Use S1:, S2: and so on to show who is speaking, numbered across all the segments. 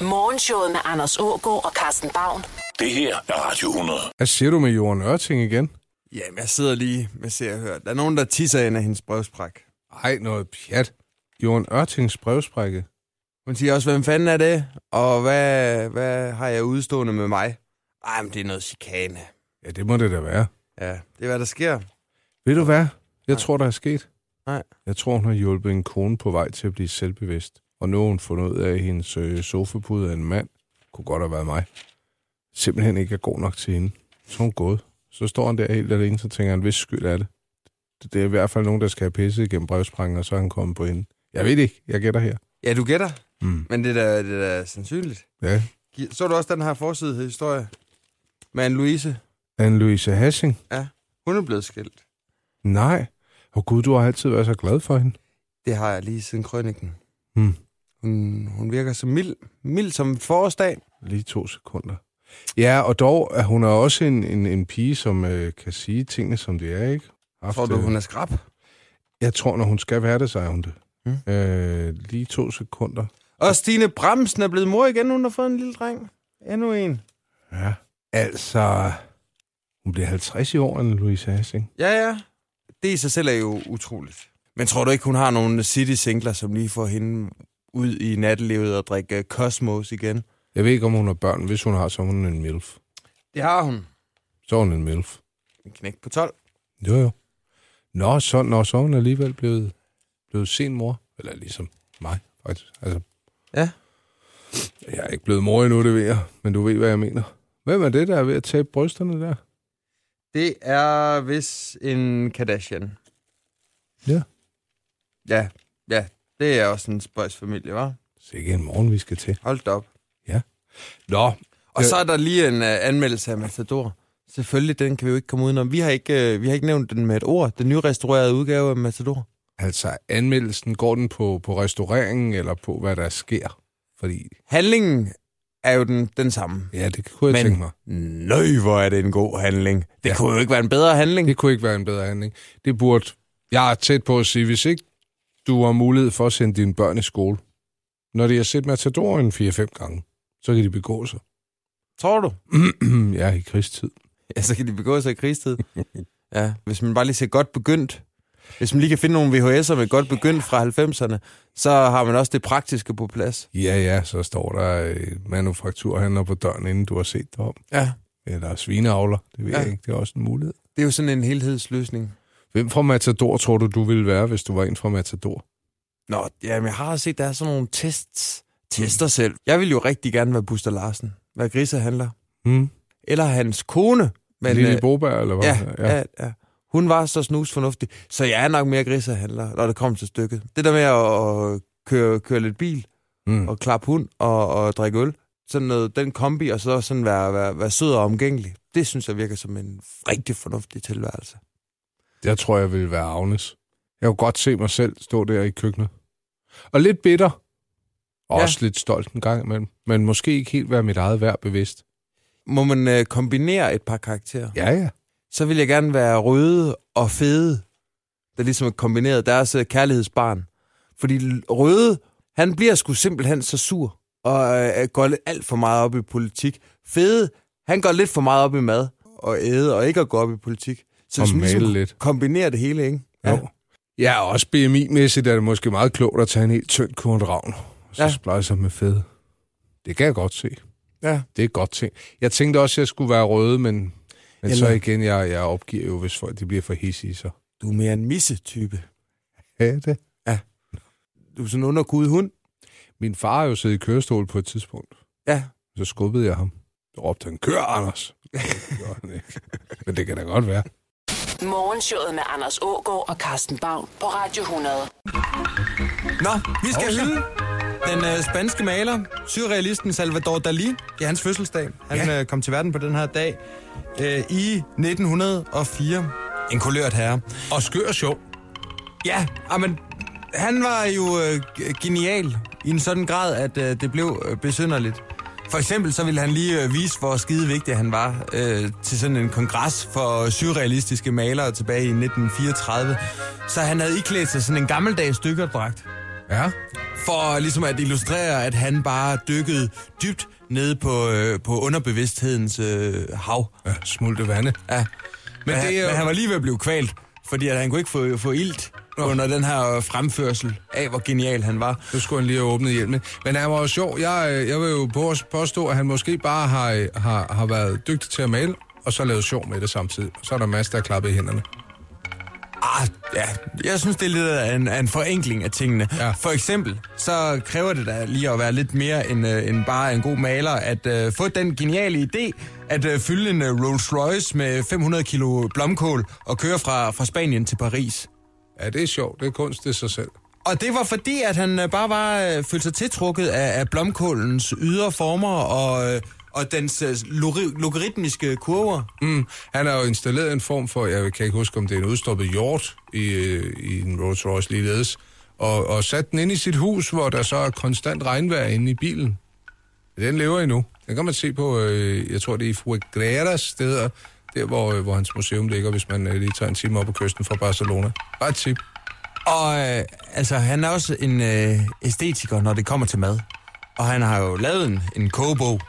S1: Morgenshowet med Anders Ågaard og Carsten Baum.
S2: Det her er Radio 100.
S3: Hvad siger du med Jorden Ørting igen?
S4: Jamen, jeg sidder lige med ser og hører. Der er nogen, der tisser ind af hendes brevspræk.
S3: Ej, noget pjat. Jorden Ørtings brevsprække.
S4: Hun siger også, hvem fanden er det? Og hvad, hvad har jeg udstående med mig? Ej, men det er noget chikane.
S3: Ja, det må det da være.
S4: Ja, det er, hvad der sker.
S3: Ved du hvad? Jeg tror, der er sket.
S4: Nej.
S3: Jeg tror, hun har hjulpet en kone på vej til at blive selvbevidst. Og nu har hun fundet ud af, at hendes øh, sofapude af en mand kunne godt have været mig. Simpelthen ikke er god nok til hende. Så er hun gået. Så står han der helt alene, så tænker han, hvis skyld er det. Det- Det er i hvert fald nogen, der skal have pisset igennem brevsprangen, og så er han kommet på hende. Jeg ved det ikke. Jeg gætter her.
S4: Ja, du gætter,
S3: Mm.
S4: men det er da, det er da sandsynligt.
S3: Ja.
S4: Gi- Så du også den her forsidehistorie med en Louise?
S3: Anne-Louise Hassing?
S4: Hun er blevet skilt.
S3: Nej. Åh gud, du har altid været så glad for hende.
S4: Det har jeg lige siden krønningen.
S3: Hmm.
S4: Hun, hun virker så mild, mild som en forårsdag.
S3: Lige to sekunder. Ja, og dog, at hun er også en, en, en pige, som øh, kan sige tingene, som de er, ikke? Haft,
S4: Tror du,
S3: øh,
S4: hun er skrab?
S3: Jeg tror, når hun skal være det, så er hun det.
S4: Mm.
S3: Øh, lige to sekunder.
S4: Og Stine Bremsen er blevet mor igen. Hun har fået en lille dreng. Endnu en.
S3: Ja. Altså, hun bliver 50 i år, Anne Louise Hassing.
S4: Ja, ja. Det i sig selv er jo utroligt. Men tror du ikke, hun har nogle city-singler, som lige får hende ud i nattelivet og drikke øh, Cosmos igen?
S3: Jeg ved ikke, om hun har børn. Hvis hun har, så er hun en milf.
S4: Det har hun.
S3: Så er hun en milf.
S4: En knæk på 12.
S3: Jo, jo. Nå, så, nå, så er hun alligevel blevet, blevet sen mor. Eller ligesom mig, faktisk. Altså,
S4: Ja.
S3: Jeg er ikke blevet mor endnu, det ved jeg. Men du ved, hvad jeg mener. Hvem er det, der er ved at tabe brysterne der?
S4: Det er hvis en Kardashian.
S3: Ja.
S4: Ja, ja. Det er også en spøjsfamilie, var.
S3: Sikke en morgen, vi skal til.
S4: Hold da op.
S3: Nå,
S4: Og
S3: Ja.
S4: så er der lige en uh, anmeldelse af Matador. Selvfølgelig, den kan vi jo ikke komme udenom. Vi har ikke, uh, vi har ikke nævnt den med et ord. Den nyrestaurerede udgave af Matador.
S3: altså anmeldelsen, går den på, på restaureringen, eller på, hvad der sker? Fordi,
S4: Handlingen er jo den, den samme.
S3: ja, det kunne jeg Men...
S4: Men-
S3: tænke mig.
S4: Nøj, hvor er det en god handling. Det ja. kunne jo ikke være en bedre handling.
S3: Det kunne ikke være en bedre handling. Det burde... Jeg er tæt på at sige, hvis ikke du har mulighed for at sende dine børn i skole, når de har set Matador en 4-5 gange, så kan de begå sig.
S4: Tror du?
S3: ja, i krigstid.
S4: Ja, så kan de begå sig i krigstid. ja, hvis man bare lige ser godt begyndt. Hvis man lige kan finde nogle VHS'er med godt begyndt fra 90'erne, så har man også det praktiske på plads.
S3: Ja, ja, så står der øh, manufakturhandler på døren, inden du har set dig om.
S4: Ja.
S3: Eller svineavler, det ved ja.
S4: Ja.
S3: jeg ikke, det er også en mulighed.
S4: Det er jo sådan en helhedsløsning.
S3: Hvem fra Matador tror du, du ville være, hvis du var en fra Matador?
S4: Nå, jamen, jeg har også set, der er sådan nogle tests. Tester selv. Jeg vil jo rigtig gerne være Buster Larsen. Være grisehandler.
S3: Hmm?
S4: Eller hans kone. Men,
S3: Lille
S4: øh,
S3: Boberg, eller hvad?
S4: ja, ja, ja. Hun var så snusfornuftig, så jeg er nok mere grisehandler, når det kommer til stykket. Det der med at at køre, køre lidt bil,
S3: Mm.
S4: og klappe hund og, og drikke øl. Sådan noget, den kombi, og så sådan være, være, være sød og omgængelig. Det synes jeg virker som en rigtig fornuftig tilværelse.
S3: Jeg tror, jeg ville være Agnes. Jeg kunne godt se mig selv stå der i køkkenet. Og lidt bitter. Og
S4: Ja.
S3: Også lidt stolt en gang imellem. Men måske ikke helt være mit eget værd bevidst.
S4: Må man øh, kombinere et par karakterer,
S3: Ja, ja.
S4: så vil jeg gerne være røde og fede, der ligesom er kombineret deres øh, kærlighedsbarn. Fordi l- røde, han bliver sgu simpelthen så sur, og øh, går lidt alt for meget op i politik. Fede, han går lidt for meget op i mad og æde, og ikke at gå op i politik. Så
S3: Og
S4: hvis man ligesom
S3: male lidt.
S4: kombinerer det hele, ikke?
S3: Jo. Ja, og også BMI-mæssigt er det måske meget klogt at tage en helt tynd korn ravn. Og så ja.
S4: Ja.
S3: splejse med fede. Det kan jeg godt se.
S4: Ja.
S3: Det er et godt ting. Jeg tænkte også, at jeg skulle være røde, men, men så
S4: Eller-
S3: igen, jeg, jeg opgiver jo, hvis folk de bliver for hissige, så.
S4: Du er mere en misse-type.
S3: Ja, det.
S4: Du er sådan en underkudet hund.
S3: Min far har jo siddet i kørestol på et tidspunkt.
S4: Ja.
S3: Så skubbede jeg ham. Så råbte han, kør Anders! Det gjorde han ikke. Men det kan da godt være.
S1: Morgenshowet med Anders Ågaard og Carsten Baum på Radio 100.
S4: Nå, vi skal hylde den øh, spanske maler, surrealisten Salvador Dalí. Det er hans fødselsdag. Han ja. øh, kom til verden på den her dag øh, i 1904. En kulørt herre.
S3: Og skør sjov.
S4: Ja, men han var jo øh, genial i en sådan grad, at øh, det blev øh, besynderligt. For eksempel så ville han lige øh, vise, hvor skide vigtig han var øh, til sådan en kongres for surrealistiske malere tilbage i 1934. Så han havde iklædt sig sådan en gammeldags dykkerdragt.
S3: Ja.
S4: for ligesom at illustrere, at han bare dykkede dybt ned på, øh, på underbevidsthedens øh, hav.
S3: Ja, smulte vande.
S4: Ja. Men,
S3: det øh,
S4: det
S3: er
S4: er
S3: jo-
S4: men han var lige ved at blive kvalt, fordi at han kunne ikke få, få ilt under den her fremførsel af, hvor genial han var.
S3: Så skulle han lige have åbnet hjelmen. Men han var jo sjov. Jeg, øh, jeg vil jo på- påstå, at han måske bare har, øh, har, har været dygtig til at male, og så lavet sjov med det samtidig. Og så er der masser, der er klappet i hænderne.
S4: Ah, ja. Jeg synes, det er lidt af en, af en forenkling af tingene.
S3: Ja.
S4: Ja. For eksempel, så kræver det da lige at være lidt mere end, øh, end bare en god maler, at øh, få den geniale idé at øh, fylde en øh, Rolls Royce med 500 kilo blomkål og køre fra, fra Spanien til Paris.
S3: Ja, det er sjovt. Det er kunst i sig selv.
S4: Og det var fordi, at han øh, bare var øh, følte sig tiltrukket af, af blomkålens ydre former og, øh, og dens øh, lori- logaritmiske kurver.
S3: Mm. Han har jo installeret en form for, jeg kan ikke huske, om det er en udstoppet hjort i, øh, i en Rolls Royce ligeledes, og, og sat den ind i sit hus, hvor der så er konstant regnvejr inde i bilen. Den lever endnu. Den kan man se på, øh, jeg tror det er i Fuegreras steder, der hvor, øh, hvor hans museum ligger, hvis man øh, lige tager en time op på kysten fra Barcelona. Bare et tip.
S4: Og øh, altså, han er også en øh, æstetiker, når det kommer til mad. Og han har jo lavet en, en kogebog,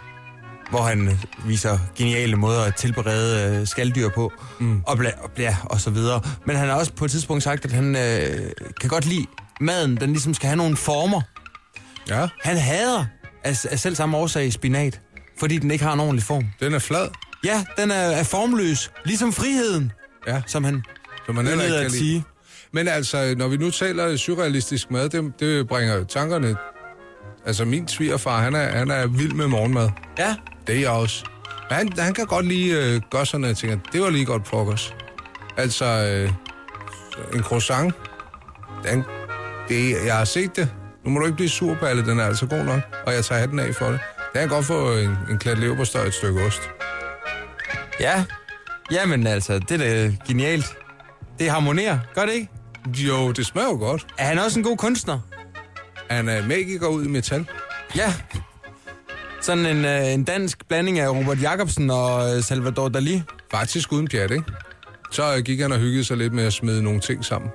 S4: hvor han viser geniale måder at tilberede øh, skalddyr på, mm. og, bla, og, bla, og så videre. Men han har også på et tidspunkt sagt, at han øh, kan godt lide maden, den ligesom skal have nogle former.
S3: Ja,
S4: Han hader af, af selv samme årsag spinat, fordi den ikke har en ordentlig form.
S3: den er flad,
S4: Ja, den er, er formløs, ligesom friheden,
S3: Ja.
S4: som han
S3: som man heller ikke
S4: yndede
S3: kan
S4: at
S3: lide.
S4: sige.
S3: Men altså, når vi nu taler surrealistisk mad, det, det bringer jo tankerne... Altså, min svigerfar, han er, han er vild med morgenmad.
S4: Ja,
S3: Det er jeg også. Men han, han kan godt lige øh, gøre sådan noget, jeg tænker, det var lige godt frokost. Altså, øh, en croissant, den, det, jeg har set det. Nu må du ikke blive sur på alle, den er altså god nok, og jeg tager hatten af for det. Det kan godt få en, en klat leverpostej og et stykke ost.
S4: Ja, jamen altså, det er da genialt. Det harmonerer, gør det ikke?
S3: Jo, det smager jo godt.
S4: Er han også en god kunstner?
S3: Han er magiker ud i metal.
S4: Ja. Sådan en, øh, en dansk blanding af Robert Jacobsen og øh, Salvador Dali.
S3: Faktisk uden pjat, ikke? Så øh, gik han og hyggede sig lidt med at smide nogle ting sammen,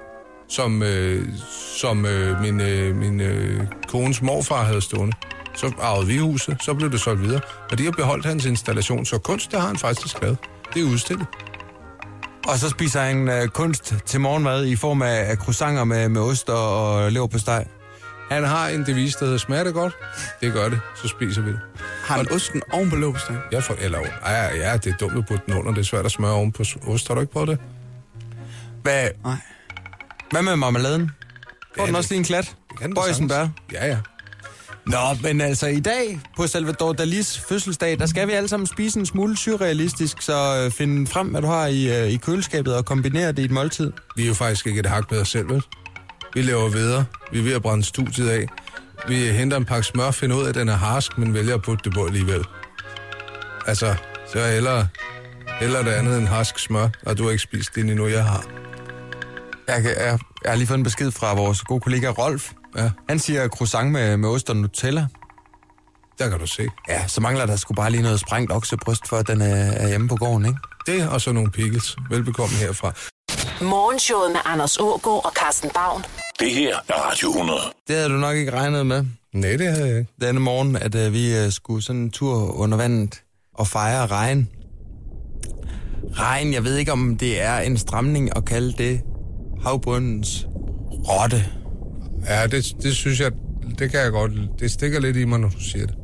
S3: som, øh, som øh, min, øh, min øh, kones morfar havde stående. Så arvede vi huset, så blev det solgt videre, og de har beholdt hans installation, så kunst, der har han faktisk lavet. Det er udstillet.
S4: Og så spiser han øh, kunst til morgenmad i form af, af croissanter med, med ost og, og leverpostej.
S3: Han har en devise, der hedder, smager det godt? Det gør det, så spiser vi det.
S5: Har han osten oven på låbestagen?
S3: Jeg får, eller, ej, ja, det er dumt at putte den under, det er svært at smøre oven på s- ost. Har du ikke prøvet det?
S4: Hvad,
S5: Nej.
S4: hvad med marmeladen? Får den
S3: det
S4: også lige en klat?
S3: Det kan det
S4: Bøjsen bær.
S3: sagtens. Ja, ja.
S4: Nå, men altså i dag på Salvador Dalis fødselsdag, der skal vi alle sammen spise en smule surrealistisk, så øh, find frem, hvad du har i, øh, i køleskabet og kombinere det i et måltid.
S3: Vi er jo faktisk ikke et hak bedre selv, vel? Vi laver videre. Vi er ved at brænde studiet af. Vi henter en pakke smør, finder ud af, at den er harsk, men vælger at putte det på alligevel. Altså, så er hellere, hellere det andet end harsk smør, og du har ikke spist det endnu, jeg har.
S4: Jeg, kan- jeg, jeg har lige fået en besked fra vores gode kollega Rolf.
S3: Ja,
S4: Han siger croissant med, med ost og Nutella.
S3: der kan du se.
S4: Ja, så mangler der sgu bare lige noget sprængt oksebryst, for at den er, er hjemme på gården, ikke?
S3: Det og så nogle pickles. Velbekomme herfra.
S1: Morgenshowet med Anders Ågaard og Carsten Baum.
S2: Det her er Radio 100.
S4: Det havde du nok ikke regnet med
S3: Nej, det havde jeg ikke.
S4: denne morgen, at øh, vi øh, skulle sådan en tur under vandet og fejre regn. Regn, jeg ved ikke, om det er en stramning at kalde det havbundens rotte.
S3: Ja, det, det synes jeg, det kan jeg godt. Det stikker lidt i mig, når du siger det.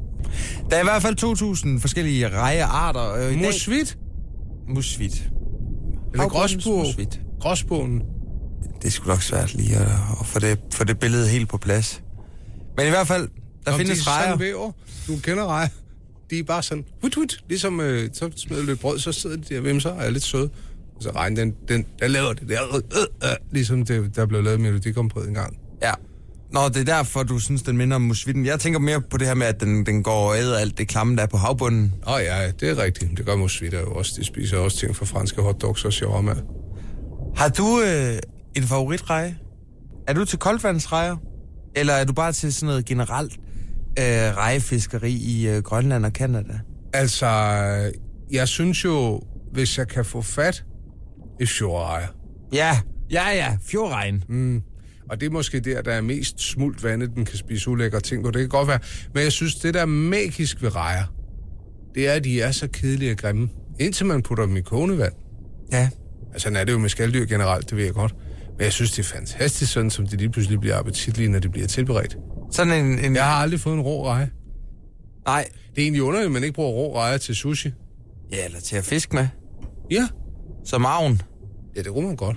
S4: Der er i hvert fald 2.000 forskellige rejearter. Øh, i dag-
S3: Musvit?
S4: Musvit.
S3: Eller
S4: Havbundens
S3: gråsbo?
S4: musvit.
S3: Gråsbogen?
S4: Det er sgu nok svært lige at, at få, det, få det billede helt på plads. Men i hvert fald, der Nå,
S3: Om
S4: findes
S3: de er
S4: rejer.
S3: sådan væver. Du kender rejer. De er bare sådan, hut, hut. Ligesom øh, så smider lidt brød, så sidder de der og vimser og er lidt søde. Og så regn, den, den, der laver det der. Øh, øh, øh, ligesom det, der blev lavet melodikomprød en gang.
S4: Ja. Nå, det er derfor, du synes, den minder om musvitten. Jeg tænker mere på det her med, at den, den går og æder alt det klamme, der er på havbunden.
S3: Åh oh, ja, det er rigtigt. Det gør musvitter jo også. De spiser også ting fra franske hotdogs og shawarma.
S4: Har du øh, en favoritreje? Er du til koldvandsrejer? Eller er du bare til sådan noget generelt øh, rejefiskeri i øh, Grønland og Kanada?
S3: Altså, jeg synes jo, hvis jeg kan få fat i fjordrejer,
S4: Ja, ja, ja. Fjordregn. Mm.
S3: Og det er måske der, der er mest smult vandet, den kan spise ulækre ting på. Det kan godt være. Men jeg synes, det der er magisk ved rejer, det er, at de er så kedelige og grimme. Indtil man putter dem i kogende vand.
S4: Ja.
S3: Altså, sådan er det jo med skalddyr generelt, det ved jeg godt. Men jeg synes, det er fantastisk, sådan som de lige pludselig bliver appetitlige, når de bliver tilberedt.
S4: Sådan en... en
S3: Jeg har aldrig fået en rå reje.
S4: Nej.
S3: Det er egentlig underligt, at man ikke bruger rå rejer til sushi.
S4: Ja, eller til at fiske med.
S3: Ja.
S4: Som arven.
S3: Ja, det kunne man godt.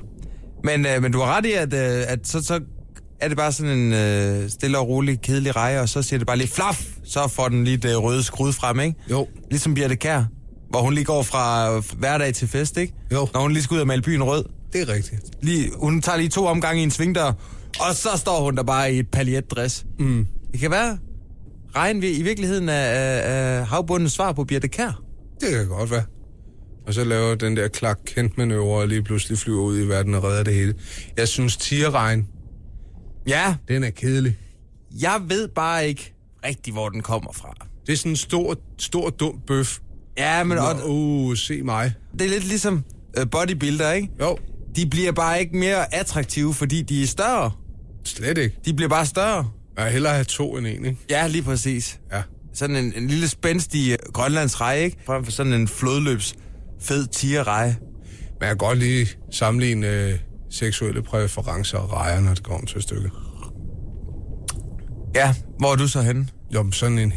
S4: Men, øh, men du har ret i, at, øh, at så, så er det bare sådan en øh, stille og rolig, kedelig reje, og så siger det bare lige flaf, så får den lige det røde skrud frem, ikke?
S3: Jo.
S4: Ligesom Birte Kær, hvor hun lige går fra øh, hverdag til fest, ikke?
S3: Jo.
S4: Når hun lige skal ud og male byen rød.
S3: Det er rigtigt.
S4: Lige, hun tager lige to omgange i en svingdør, og så står hun der bare i et paljetdress. Mm. Det kan være, regn vi i virkeligheden er, er, er havbundens svar på Birte Kær.
S3: Det kan godt være. Og så laver den der Clark kent manøvre og lige pludselig flyver ud i verden og redder det hele. Jeg synes, tigerregn,
S4: Ja,
S3: den er kedelig.
S4: jeg ved bare ikke rigtig, hvor den kommer fra.
S3: Det er sådan en stor, stor dum bøf.
S4: Ja, men og,
S3: Og, uh, se mig.
S4: det er lidt ligesom øh, bodybuilder, ikke?
S3: Jo,
S4: De bliver bare ikke mere attraktive, fordi de er større.
S3: slet ikke.
S4: De bliver bare større.
S3: Jeg vil hellere have to end en, ikke?
S4: Ja, lige præcis.
S3: Ja.
S4: Sådan en, en lille spændstig øh, grønlandsreje, ikke? Frem for sådan en flodløbs fed tigerreje.
S3: Men jeg kan godt lige sammenligne øh, seksuelle præferencer og rejer, når det går om til stykket.
S4: Ja, hvor er du så henne?
S3: Jo, men sådan en,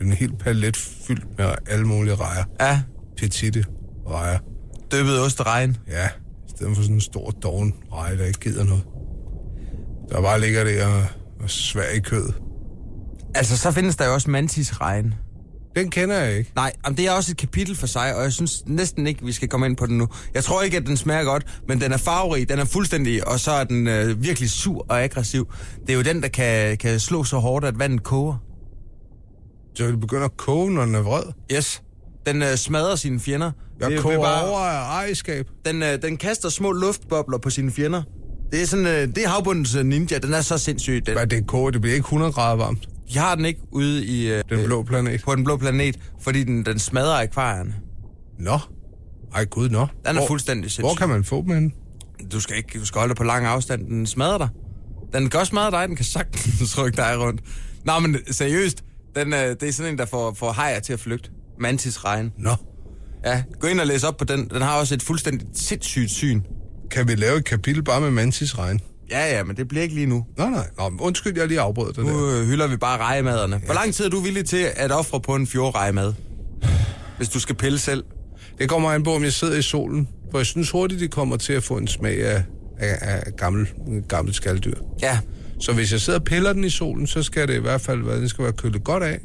S3: en hel palet fyldt med alle mulige rejer.
S4: Ja,
S3: Petite rejer.
S4: døbet osteregn.
S3: Ja, i stedet for sådan en stor doven reje, der ikke gider noget. Der bare ligger der og, og svær i kødet.
S4: Altså, så findes der jo også mantisregn.
S3: Den kender jeg ikke.
S4: Nej, jamen, det er også et kapitel for sig, og jeg synes næsten ikke, vi skal komme ind på den nu. Jeg tror ikke, at den smager godt, men den er farverig, den er fuldstændig, og så er den øh, virkelig sur og aggressiv. Det er jo den, der kan, kan slå så hårdt, at vandet koger.
S3: Så det begynder at koge, når den er vred.
S4: Yes. Den øh, smadrer sine fjender.
S3: Jeg
S4: Det- det er
S3: koger
S4: bare-
S3: over af ejerskab.
S4: Den, øh, den kaster små luftbobler på sine fjender. Det er sådan, øh, det er havbundens øh, ninja. Den er så sindssyg. Den.
S3: Hvad det koger, det bliver ikke 100 grader varmt.
S4: Jeg har den ikke ude i, øh,
S3: Den blå planet.
S4: på den blå planet, fordi den, den smadrer akvarierne.
S3: Nå. Ej gud, nå.
S4: Den er
S3: Hvor-
S4: fuldstændig sindssyg.
S3: Hvor kan man få dem henne?
S4: Du skal ikke, du skal holde dig på lang afstand. Den smadrer dig. Den kan også smadre dig, den kan sagtens rykke dig rundt. Nå, men seriøst, den, øh, det er sådan en, der får, får hajer til at flygte. Mantis regn.
S3: Nå.
S4: Ja, gå ind og læs op på den. Den har også et fuldstændigt sindssygt syn.
S3: Kan vi lave et kapitel bare med mantis regn?
S4: Ja, ja, men det bliver ikke lige nu.
S3: Nej, nej. Nå, men undskyld, jeg lige afbrød det der.
S4: Nu øh, hylder vi bare rejemaderne. Hvor lang tid er du villig til at ofre på en fjordrejemad? Hvis du skal pille selv.
S3: Det kommer an på, om jeg sidder i solen. For jeg synes hurtigt, det kommer til at få en smag af, af, af gammel, gammelt skalddyr.
S4: Ja.
S3: Så hvis jeg sidder og piller den i solen, så skal det i hvert fald være, den skal være kølet godt af.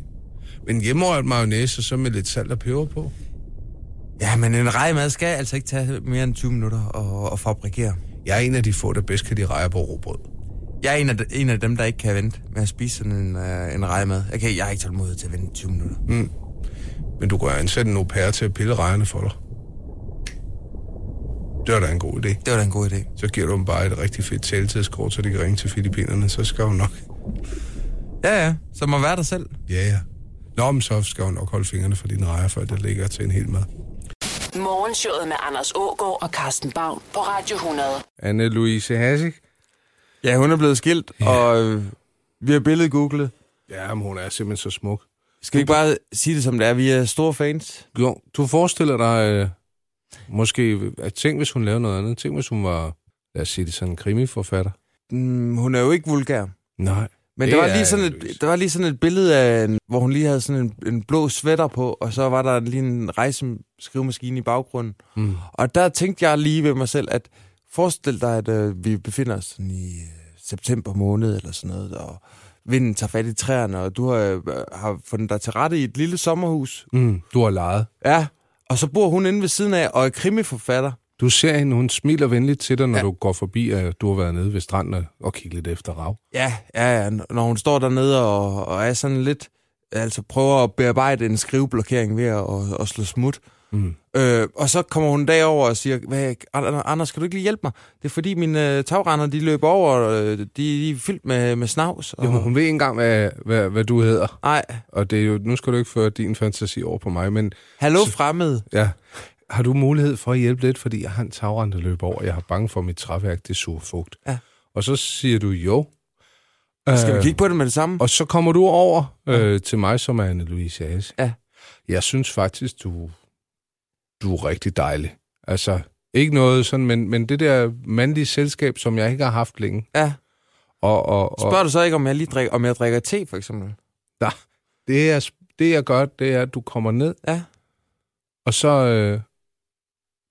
S3: Men hjemmerørt mayonnaise, og så med lidt salt og peber på.
S4: Ja, men en rejemad skal altså ikke tage mere end 20 minutter at, at fabrikere.
S3: Jeg er en af de få, der bedst kan de rejer på råbrød.
S4: Jeg er en af, de- en af dem, der ikke kan vente med at spise sådan en, øh, en rejemad. Jeg, kan, jeg har ikke tålmodighed til at vente 20 minutter. Mm.
S3: Men du kan jo ansætte en au pair til at pille rejerne for dig. Det var da en god idé.
S4: Det var da en god idé.
S3: Så giver du dem bare et rigtig fedt taletidskort, så de kan ringe til Filippinerne, så skal hun nok.
S4: Ja, ja. Så må være dig selv.
S3: Ja, ja. Nå, men så skal hun nok holde fingrene fra dine rejer, før det ligger til en hel mad.
S1: Morgenshowet med Anders Ågaard og Carsten Baum på Radio 100.
S3: Anne-Louise Hassik.
S4: Ja, hun er blevet skilt, ja. og øh, vi har billedet googlet.
S3: Ja, men hun er simpelthen så smuk.
S4: Skal vi ikke bare sige det, som det er? Vi er store fans.
S3: Jo, du forestiller dig øh, måske, at tænk hvis hun lavede noget andet. Tænk hvis hun var, lad os sige det sådan, en krimiforfatter.
S4: Mm, hun er jo ikke vulgær.
S3: Nej.
S4: Men
S3: Det
S4: der var,
S3: er
S4: lige sådan
S3: løs.
S4: et, der var lige sådan et billede af, en, hvor hun lige havde sådan en, en blå sweater på, og så var der lige en rejseskrivemaskine i baggrunden. Mm. Og der tænkte jeg lige ved mig selv, at forestil dig, at øh, vi befinder os sådan i øh, september måned eller sådan noget, og vinden tager fat i træerne, og du har, øh, har fundet dig til rette i et lille sommerhus.
S3: Mm, du har lejet.
S4: Ja, og så bor hun inde ved siden af og er krimiforfatter.
S3: Du ser hende, hun smiler venligt til dig, når
S4: Ja.
S3: ja. du går forbi, at du har været nede ved stranden og- og kigget lidt efter rav.
S4: Ja, ja, ja. Når hun står dernede og, og er sådan lidt... Altså prøver at bearbejde en skriveblokering ved at, at, at slå smut. Mm. Øh, og så kommer hun en dag over og siger, Hvad, An- Anders, kan du ikke lige hjælpe mig? Det er fordi mine øh, tagrender, de løber over, og øh, de, de er fyldt med, med snavs. Og...
S3: Jo, men hun ved ikke engang, hvad, hvad, hvad du hedder.
S4: Nej,
S3: Og det er jo, nu skal du ikke føre din fantasi over på mig, men
S4: hallo fremmed.
S3: ja, har du mulighed for at hjælpe lidt, fordi jeg har en tagrende løb over, jeg har bange for, at mit træværk det suger fugt.
S4: Ja.
S3: Og så siger du jo.
S4: Skal vi
S3: Øh,
S4: kigge på det med det samme?
S3: Og så kommer du over øh, til mig, som er Anne-Louise Hase.
S4: Ja.
S3: Jeg synes faktisk, du, du er rigtig dejlig. Altså, ikke noget sådan, men, men det der mandlige selskab, som jeg ikke har haft længe.
S4: Ja.
S3: Og, og, og
S4: Spørger du så ikke, om jeg lige drikker, om jeg drikker te, for eksempel?
S3: Nej, det, er, det jeg gør, det er, at du kommer ned,
S4: Ja.
S3: og så... Øh,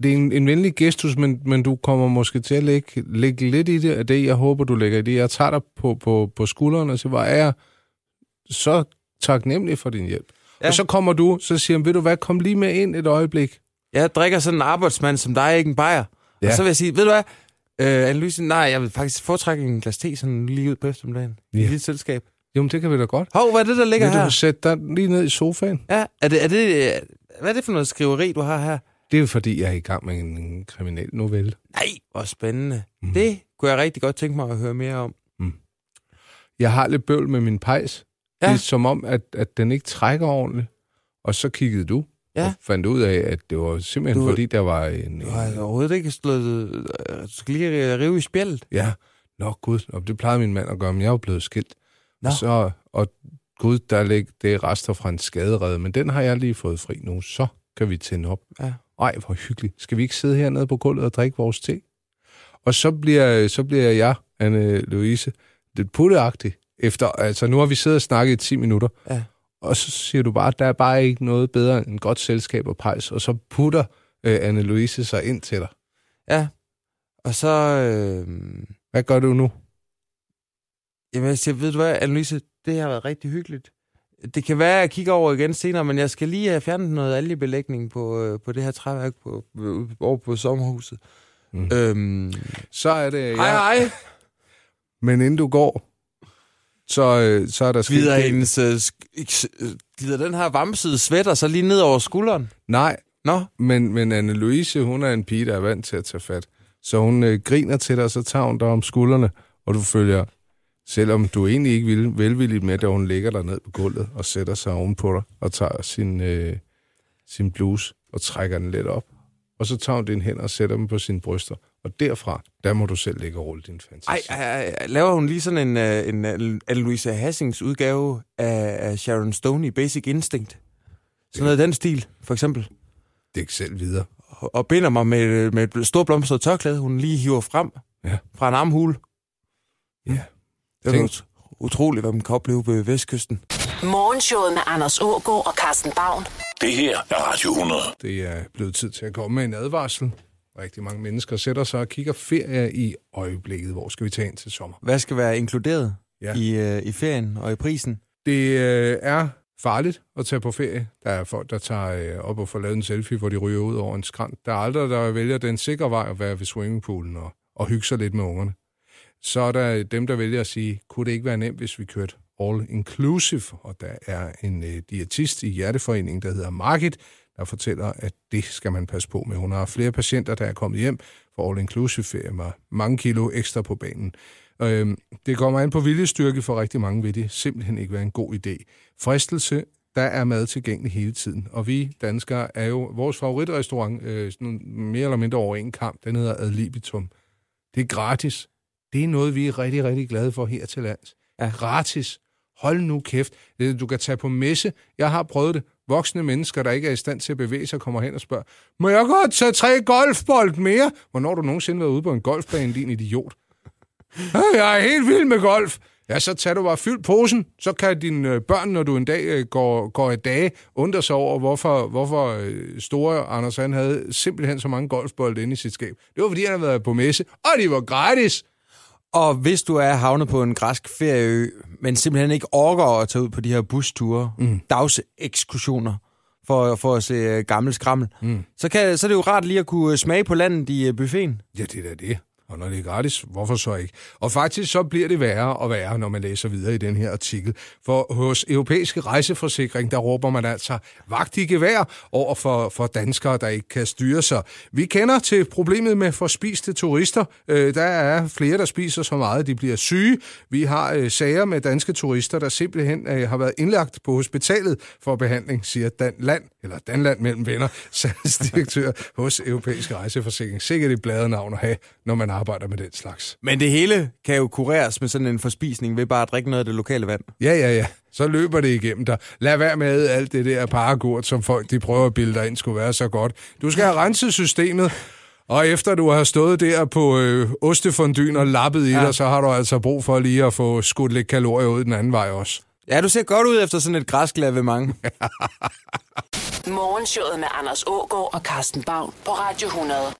S3: det er en, en venlig gestus, men, men du kommer måske til at lægge, lægge lidt i det af det, jeg håber, du lægger i det. Jeg tager dig på, på, på skulderen og siger, hvor er jeg så taknemmelig for din hjælp. Ja.
S4: Ja.
S3: Og så kommer du, så siger han, ved du hvad, kom lige med ind et øjeblik.
S4: Jeg drikker sådan en arbejdsmand som dig, ikke en bajer. Ja.
S3: Ja.
S4: Og så vil jeg sige, ved du hvad, øh, Anne-Louise, nej, jeg vil faktisk foretrække en glas te sådan lige ud på eftermiddagen. Ja. I
S3: Ja.
S4: dit selskab.
S3: Jamen, det kan vi da godt.
S4: Hov, hvad er det, der ligger
S3: Vil
S4: her?
S3: du sætte dig lige ned i sofaen?
S4: Ja, er det, er det, øh, hvad er det for noget skriveri, du har her?
S3: Det er jo fordi, jeg er i gang med en, en kriminel novelle.
S4: Nej, hvor spændende.
S3: Mhm.
S4: Mm. Det kunne jeg rigtig godt tænke mig at høre mere om.
S3: jeg har lidt bøvl med min pejs. Ja.
S4: Ja.
S3: Det er som om, at, at den ikke trækker ordentligt. Og så kiggede du
S4: Ja.
S3: og fandt ud af, at det var simpelthen
S4: Du-
S3: du... fordi, der var en...
S4: Du har
S3: en
S4: altså overhovedet ikke slået... øh, Du skal lige rive i spjældet.
S3: ja, nå gud, og det plejede min mand at gøre, men jeg er jo blevet skilt.
S4: Nå.
S3: Og, så, og gud, der ligger det er rester fra en skaderede, men den har jeg lige fået fri nu, så kan vi tænde op.
S4: Ja.
S3: Ej, hvor hyggeligt. Skal vi ikke sidde hernede på gulvet og drikke vores te? Og så bliver, så bliver jeg, Anne-Louise, lidt putteagtig. Efter, altså, nu har vi siddet og snakket i 10 minutter.
S4: Ja.
S3: Og så siger du bare, at der er bare ikke noget bedre end godt selskab og pejs. Og så putter øh, Anne-Louise sig ind til dig.
S4: Ja. Og så... Øh,
S3: Hvad gør du nu?
S4: jamen, jeg siger, ved du hvad, Annelise, det har været rigtig hyggeligt. Det kan være, at jeg kigger over igen senere, men jeg skal lige have fjernet noget algebelægning på, øh, på det her træværk på, øh, over på sommerhuset.
S3: Mm.
S4: Mm. Øhm,
S3: Så er det...
S4: hej, hej.
S3: Men inden du går, så, øh, så er der sket...
S4: Glider
S3: det.
S4: hendes... Øh, sk- ikke- øh, glider den her vamsede sweater så lige ned over skulderen?
S3: Nej,
S4: Nå,
S3: men, men Anne-Louise, hun er en pige, der er vant til at tage fat. Så hun øh, griner til dig, og så tager hun dig om skuldrene, og du følger, selvom du egentlig ikke vil velvilligt med, da hun ligger dig ned på gulvet og sætter sig ovenpå dig og tager sin, øh, sin bluse og trækker den lidt op. Og så tager hun dine hænder og sætter dem på sine bryster. Og derfra, der må du selv ligge og rulle din fantasi.
S4: Ej, ej, ej, ej, laver hun lige sådan en, øh, en øh, Anne-Louise Hassings udgave af, af Sharon Stone i Basic Instinct? Sådan noget i den stil, for eksempel.
S3: Det er ikke selv videre.
S4: Og- Og binder mig med, øh, med et stort blomstret tørklæde, hun lige hiver frem
S3: Ja.
S4: fra en armhule. Mm.
S3: Ja.
S4: Det er
S3: Tænk-
S4: ut- utroligt, hvad man kan opleve ved Vestkysten.
S1: Morgenshowet med Anders Ågaard og Carsten Baum.
S2: Det her er Radio 100.
S3: Det er blevet tid til at komme med en advarsel. Rigtig mange mennesker sætter sig og kigger ferie i øjeblikket. Hvor skal vi tage ind til sommer?
S4: Hvad skal være inkluderet
S3: Ja.
S4: ja. i, øh, i ferien og i prisen?
S3: Det øh, er farligt at tage på ferie. Der er folk, der tager øh, op og får lavet en selfie, hvor de ryger ud over en skrant. Der er aldrig, der vælger den sikre vej at være ved swimmingpoolen og, og hygge sig lidt med ungerne. Så er der dem, der vælger at sige, kunne det ikke være nemt, hvis vi kørte all inclusive? Og der er en øh, diætist i Hjerteforeningen, der hedder Margit, der fortæller, at det skal man passe på med. Hun har flere patienter, der er kommet hjem for all inclusive ferie med mange kilo ekstra på banen. Øhm, det kommer an på viljestyrke, for rigtig mange vil det simpelthen ikke være en god idé. Fristelse, der er mad tilgængelig hele tiden, og vi danskere er jo vores favoritrestaurant, øh, sådan nogle mere eller mindre over en kamp, den hedder Ad Libitum. Det er gratis. Det er noget, vi er rigtig, rigtig glade for her til lands.
S4: Ja.
S3: Gratis. Hold nu kæft. Øh, Du kan tage på messe. Jeg har prøvet det. Voksne mennesker, der ikke er i stand til at bevæge sig, kommer hen og spørger, må jeg godt tage tre golfbold mere? Hvornår har du nogensinde været ude på en golfbane, din idiot? "Ah, Jeg er helt vild med golf. Ja, så tager du bare fyldt posen, så kan dine øh, børn, når du en dag øh, går, går i dage, undre sig over, hvorfor, hvorfor øh, store Anders han havde simpelthen så mange golfbolde inde i sit skab. Det var, fordi han havde været på messe, og de var gratis.
S4: Og hvis du er havnet på en græsk ferieø, men simpelthen ikke orker at tage ud på de her busture, mm. dagsekskursioner, for, for at se øh, gammel skrammel, mm. så, kan, så er det jo rart lige at kunne øh, smage på landet i øh, buffeten.
S3: Ja, det er da det. Og når det er gratis, hvorfor så ikke? Og faktisk så bliver det værre og værre, når man læser videre i den her artikel. For hos Europæiske Rejseforsikring, der råber man altså vagt i gevær over for, for danskere, der ikke kan styre sig. Vi kender til problemet med forspiste turister. Øh, der er flere, der spiser så meget, de bliver syge. Vi har øh, sager med danske turister, der simpelthen øh, har været indlagt på hospitalet for behandling, siger Dan Land, eller Danland mellem venner, salgsdirektør hos Europæiske Rejseforsikring. Sikkert et bladet navn at have, når man har arbejder med den slags.
S4: Men det hele kan jo kureres med sådan en forspisning ved bare at drikke noget af det lokale vand.
S3: Ja, ja, ja. Så løber det igennem dig. Lad være med alt det der paragurt, som folk de prøver at bilde dig ind, skulle være så godt. Du skal have renset systemet, og efter du har stået der på øh, ostefondyn og lappet i ja. dig, så har du altså brug for lige at få skudt lidt kalorier ud den anden vej også.
S4: Ja, du ser godt ud efter sådan et græsklavement.
S1: Morgenshowet med Anders Ågaard og Carsten Baum på Radio 100.